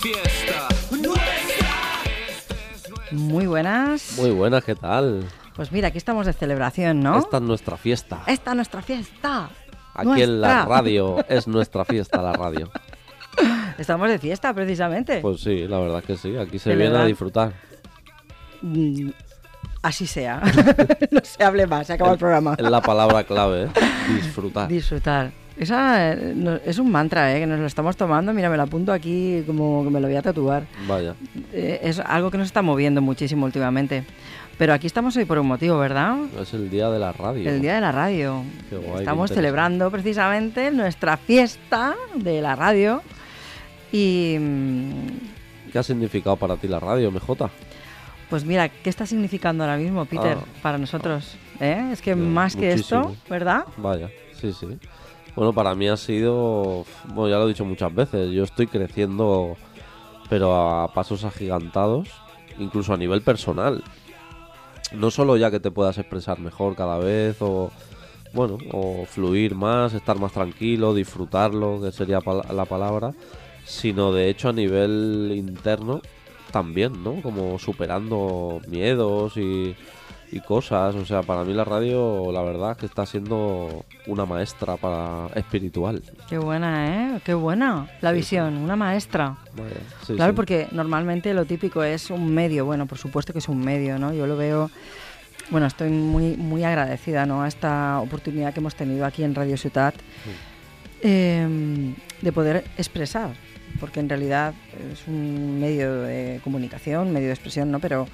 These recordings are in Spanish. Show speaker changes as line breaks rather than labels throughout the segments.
fiesta nuestra.
Muy buenas.
Muy buenas, ¿qué tal?
Pues mira, aquí estamos de celebración, ¿no?
Esta es nuestra fiesta.
Esta es nuestra fiesta.
Aquí en la
Nuestra.
radio es nuestra fiesta, la radio.
Estamos de fiesta, precisamente.
Pues sí, la verdad que sí, aquí se
De
viene
verdad.
a disfrutar.
Mm, Así sea. no se hable más, se acaba el programa.
Es la palabra clave, ¿eh? disfrutar.
Disfrutar. Esa eh, no- es un mantra, ¿eh? Que nos lo estamos tomando. Mira, me lo apunto aquí como que me lo voy a tatuar.
Vaya.
Eh, es algo que nos está moviendo muchísimo últimamente. Pero aquí estamos hoy por un motivo, ¿verdad?
Es el día de la radio.
El Día de la Radio.
Qué guay, qué
Estamos
interesante.
celebrando precisamente nuestra fiesta de la radio. Y mm,
¿Qué ha significado para ti la radio, MJ?
pues mira, ¿qué está significando ahora mismo, Peter,
Ah.
para nosotros? ¿Eh? Es que
Ya,
más que esto,
muchísimo.
¿verdad?
Vaya, sí, sí. Bueno, para mí ha sido, bueno, ya lo he dicho muchas veces, yo estoy creciendo, pero a pasos agigantados, incluso a nivel personal. No solo ya que te puedas expresar mejor cada vez o, bueno, o fluir más, estar más tranquilo, disfrutarlo, que sería pal- la palabra, sino de hecho a nivel interno también, ¿no? Como superando miedos y, y cosas. O sea, para mí la radio, la verdad, es que está siendo una maestra para espiritual.
Qué buena, ¿eh? Qué buena la visión, una maestra.
Vaya, sí,
Claro,
sí.
porque normalmente lo típico es un medio. Bueno, por supuesto que es un medio, ¿no? Yo lo veo. Bueno, estoy muy, muy agradecida ¿no? a esta oportunidad que hemos tenido aquí en Radio Ciudad eh, de poder expresar, porque en realidad es un medio de comunicación, medio de expresión, ¿no? Pero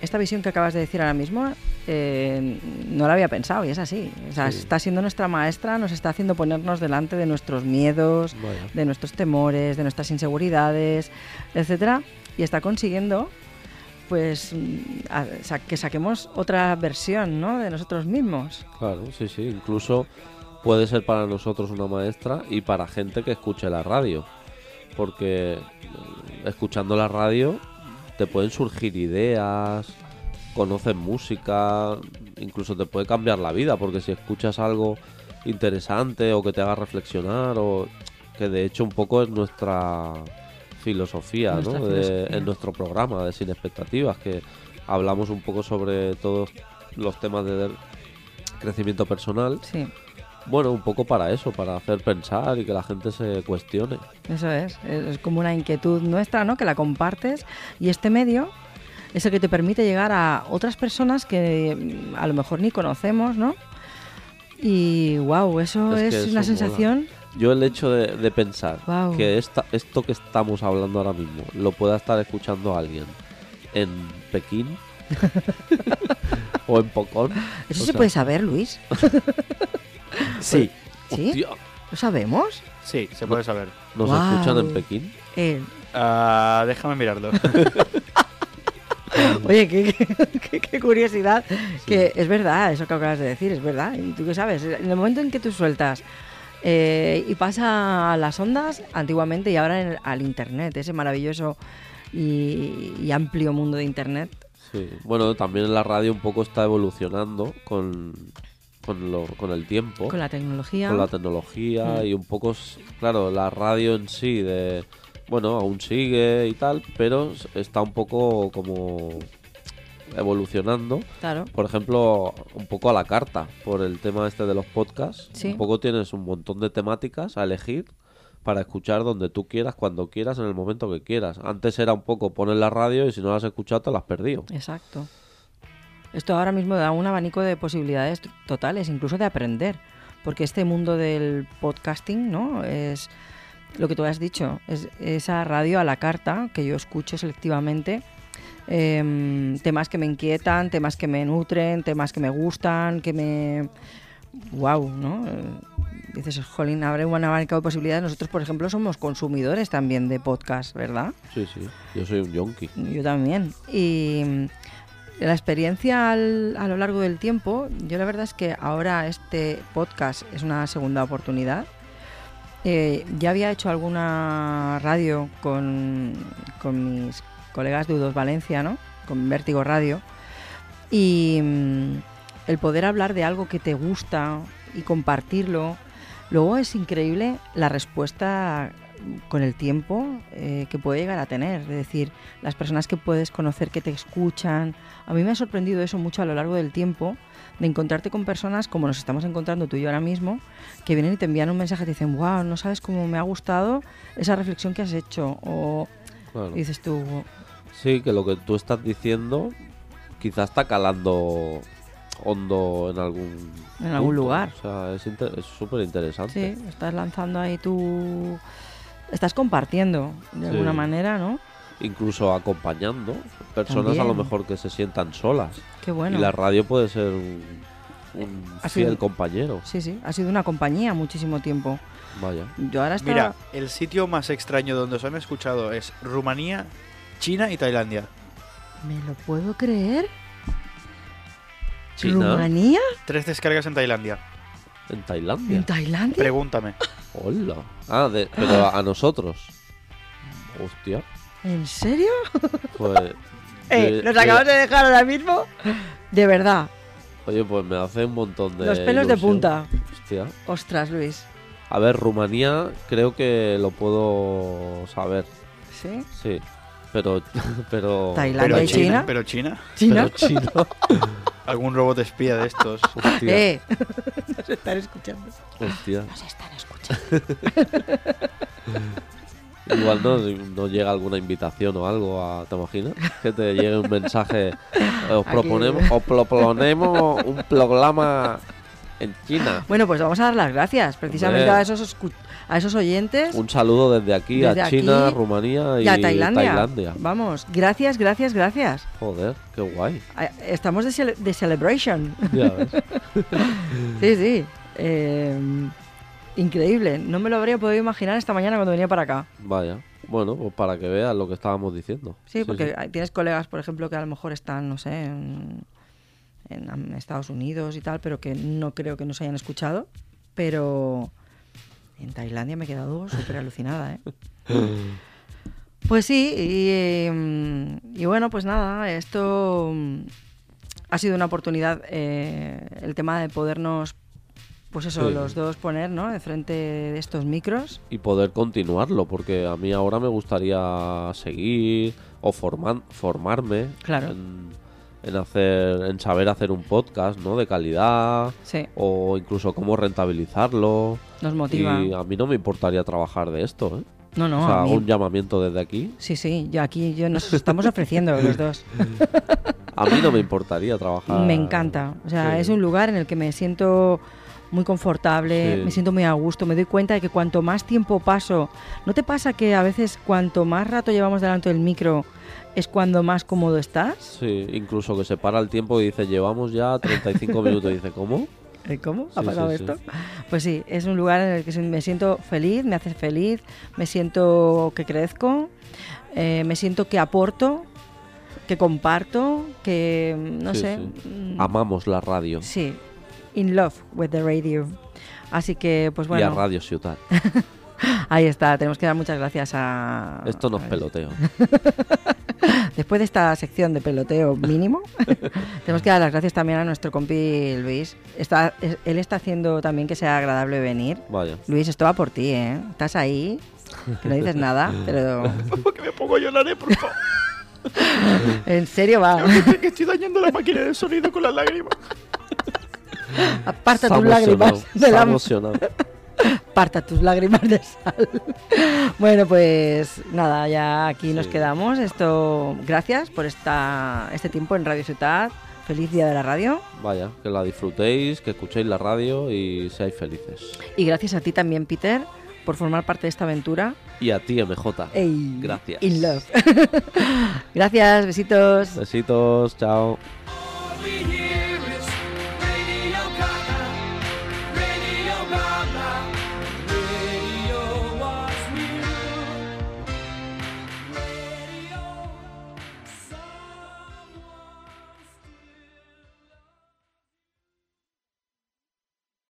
esta visión que acabas de decir ahora mismo eh, no la había pensado y es así. O sea,
Sí.
está siendo nuestra maestra, nos está haciendo ponernos delante de nuestros miedos,
Vaya.
de nuestros temores, de nuestras inseguridades, etcétera, y está consiguiendo pues mm, a- sa- que saquemos otra versión ¿no? de nosotros mismos.
Claro, sí, sí. Incluso puede ser para nosotros una maestra y para gente que escuche la radio. Porque eh, escuchando la radio te pueden surgir ideas, conoces música, incluso te puede cambiar la vida. Porque si escuchas algo interesante o que te haga reflexionar, o que de hecho un poco es nuestra filosofía,
Nuestra
¿no? De-
filosofía.
en nuestro programa de Sin Expectativas, que hablamos un poco sobre todos los temas de crecimiento personal.
Sí,
Bueno, un poco para eso, para hacer pensar y que la gente se cuestione.
eso es. Es como una inquietud nuestra, ¿no? Que la compartes y este medio es el que te permite llegar a otras personas que mm, a lo mejor ni conocemos, ¿no? Y wow, eso
Es
es,
que eso
una
mola.
sensación.
Yo el hecho de, de pensar
Guau.
que esta, esto que estamos hablando ahora mismo lo pueda estar escuchando alguien en Pekín o en Pocón.
Eso
o
se
sea,
puede saber, Luis. Pues,
Sí,
¿Sí?
hostia,
¿Lo sabemos?
sí, se puede saber.
¿Nos
Guau.
escuchan en Pekín?
Eh,
Ah, déjame mirarlo.
Oye, qué, qué- qué curiosidad. Que es verdad, eso que acabas de decir, es verdad. Y tú qué sabes, en el momento en que tú sueltas eh, y pasa a las ondas, antiguamente y ahora en- al Internet, ese maravilloso y, y amplio mundo de Internet.
Sí. Bueno, también la radio un poco está evolucionando con, con, lo- con el
Oh.
tiempo.
Con la tecnología.
con la tecnología y un poco, s- claro, la radio en sí, de, bueno, aún sigue y tal, pero s- está un poco como evolucionando.
Claro.
Por ejemplo, un poco a la carta, por el tema este de los podcasts.
Sí.
Un poco tienes un montón de temáticas a elegir para escuchar donde tú quieras, cuando quieras, en el momento que quieras. Antes era un poco poner la radio y si no la has escuchado te la has perdido.
Exacto. Esto ahora mismo da un abanico de posibilidades t- totales, incluso de aprender, porque este mundo del podcasting, ¿no? Es lo que tú has dicho, es esa radio a la carta que yo escucho selectivamente, em, temas que me inquietan, temas que me nutren, temas que me gustan, que me... ¡Wow! ¿no? Eh, Dices, jolín, abre un abanico de posibilidades. Nosotros, por ejemplo, somos consumidores también de podcast, ¿verdad?
Sí, sí. Yo soy un yonki.
Yo también. Y mm, la experiencia al- a lo largo del tiempo, yo la verdad es que ahora este podcast es una segunda oportunidad. Eh, ya había hecho alguna radio con, con mis colegas de Udos Valencia, ¿no? Con Vértigo Radio. Y mm, el poder hablar de algo que te gusta y compartirlo, luego es increíble la respuesta con el tiempo eh, que puede llegar a tener. Es decir, las personas que puedes conocer, que te escuchan. A mí me ha sorprendido eso mucho a lo largo del tiempo, de encontrarte con personas como nos estamos encontrando tú y yo ahora mismo, que vienen y te envían un mensaje y te dicen, wow, no sabes cómo me ha gustado esa reflexión que has hecho. O
Claro.
dices tú,
Sí, que lo que tú estás diciendo quizás está calando hondo en algún
En algún lugar.
O sea, es inter- es súper interesante.
sí, estás lanzando ahí tu... Estás compartiendo de
Sí.
alguna manera, ¿no?
Incluso acompañando personas a lo
También.
mejor que se sientan solas.
Qué bueno.
Y la radio puede ser un, un
Ha
fiel
sido-
compañero.
Sí, sí, ha sido una compañía muchísimo tiempo.
Vaya.
Yo ahora estaba...
Mira, el sitio más extraño donde os han escuchado es Rumanía, China y Tailandia.
¿Me lo puedo creer?
China,
¿Rumanía?
Tres descargas en Tailandia.
en Tailandia.
¿En Tailandia?
Pregúntame.
Hola. Ah, de- pero a nosotros. Hostia.
¿En serio?
Pues. yo- yo-
Eh, de dejar ahora mismo. De verdad,
Oye, pues me hace un montón de.
los pelos de
ilusión.
punta.
Hostia.
Ostras, Luis.
A ver, Rumanía creo que lo puedo saber,
¿Sí?
sí. Pero. pero
Tailandia
pero
y China?
Pero China.
¿China?
Pero China.
Algún robot espía de estos.
Hostia.
¡Eh! Nos están escuchando.
hostia.
Nos están escuchando.
Igual no, no llega alguna invitación o algo, a, ¿te imaginas? Que te llegue un mensaje. eh, Os
Aquí.
proponemos, os proponemos un programa en China.
Bueno, pues vamos a dar las gracias precisamente
Hombre.
a esos, escu- a esos oyentes
Un saludo desde aquí
Pues, Desde
a
aquí
China, Rumanía y,
y a Tailandia.
Tailandia.
Vamos, gracias, gracias, gracias.
Joder, qué guay.
Ah, Estamos de, cele- de celebration.
Ya ves.
Sí, sí. Eh, increíble. No me lo habría podido imaginar esta mañana cuando venía para acá.
Vaya. Bueno, pues para que veas lo que estábamos diciendo.
Sí, porque hay- tienes colegas, por ejemplo, que a lo mejor están, no sé, en, en Am- Estados Unidos y tal, pero que no creo que nos hayan escuchado. Pero en Tailandia me he quedado súper alucinada, ¿eh? Pues sí, y, eh, y bueno, pues nada, esto mm, ha sido una oportunidad eh, el tema de podernos, pues eso,
Sí.
los dos poner, ¿no? De frente de estos micros.
y poder continuarlo, porque a mí ahora me gustaría seguir o forman- formarme
Claro.
en, en hacer, en saber hacer un podcast, ¿no? De calidad
Sí,
o incluso cómo rentabilizarlo.
nos motiva.
Y a mí no me importaría trabajar de esto, ¿eh?
No, no,
o sea,
a mí-
hago un llamamiento desde aquí.
Sí, sí, yo aquí yo nos estamos ofreciendo los dos.
A mí no me importaría trabajar.
Me encanta. O sea,
Sí.
es un lugar en el que me siento muy confortable,
Sí.
me siento muy a gusto, me doy cuenta de que cuanto más tiempo paso, ¿no te pasa que a veces cuanto más rato llevamos delante del micro es cuando más cómodo estás?
Sí, incluso que se para el tiempo y dice, llevamos ya 35 minutos. Y dice, ¿cómo?
Eh, ¿Cómo?
Sí,
¿Ha pasado
sí, sí.
esto? Pues sí, es un lugar en el que se- me siento feliz, me hace feliz, me siento que crezco, eh, me siento que aporto, que comparto, que no
Sí,
sé.
sí.
mm,
Amamos la radio
Sí, in love with the radio. Así que, pues
y a
bueno,
Radio Ciudad.
ahí está. Tenemos que dar muchas gracias a.
Esto nos
a-
peloteo.
Después de esta sección de peloteo mínimo, tenemos que dar las gracias también a nuestro compi Luis. Está, es- él está haciendo también que sea agradable venir.
Vaya.
Luis, esto va por ti, ¿eh? Estás ahí, que no dices nada, pero
que me pongo a llorar, eh, por favor.
en serio va.
que estoy dañando la máquina de sonido con las lágrimas.
Aparta
Se ha
tus lágrimas
emocionado,
de
se ha
la,
emocionado.
Parta tus lágrimas de sal. Bueno, pues nada, ya aquí nos
Sí.
quedamos. Esto, gracias por esta, este tiempo en Radio Ciudad. Feliz día de la radio.
Vaya, que la disfrutéis, que escuchéis la radio y seáis felices.
Y gracias a ti también, Peter, por formar parte de esta aventura.
Y a ti, MJ.
Ey,
Gracias.
In love. gracias, besitos.
Besitos, chao.
We here.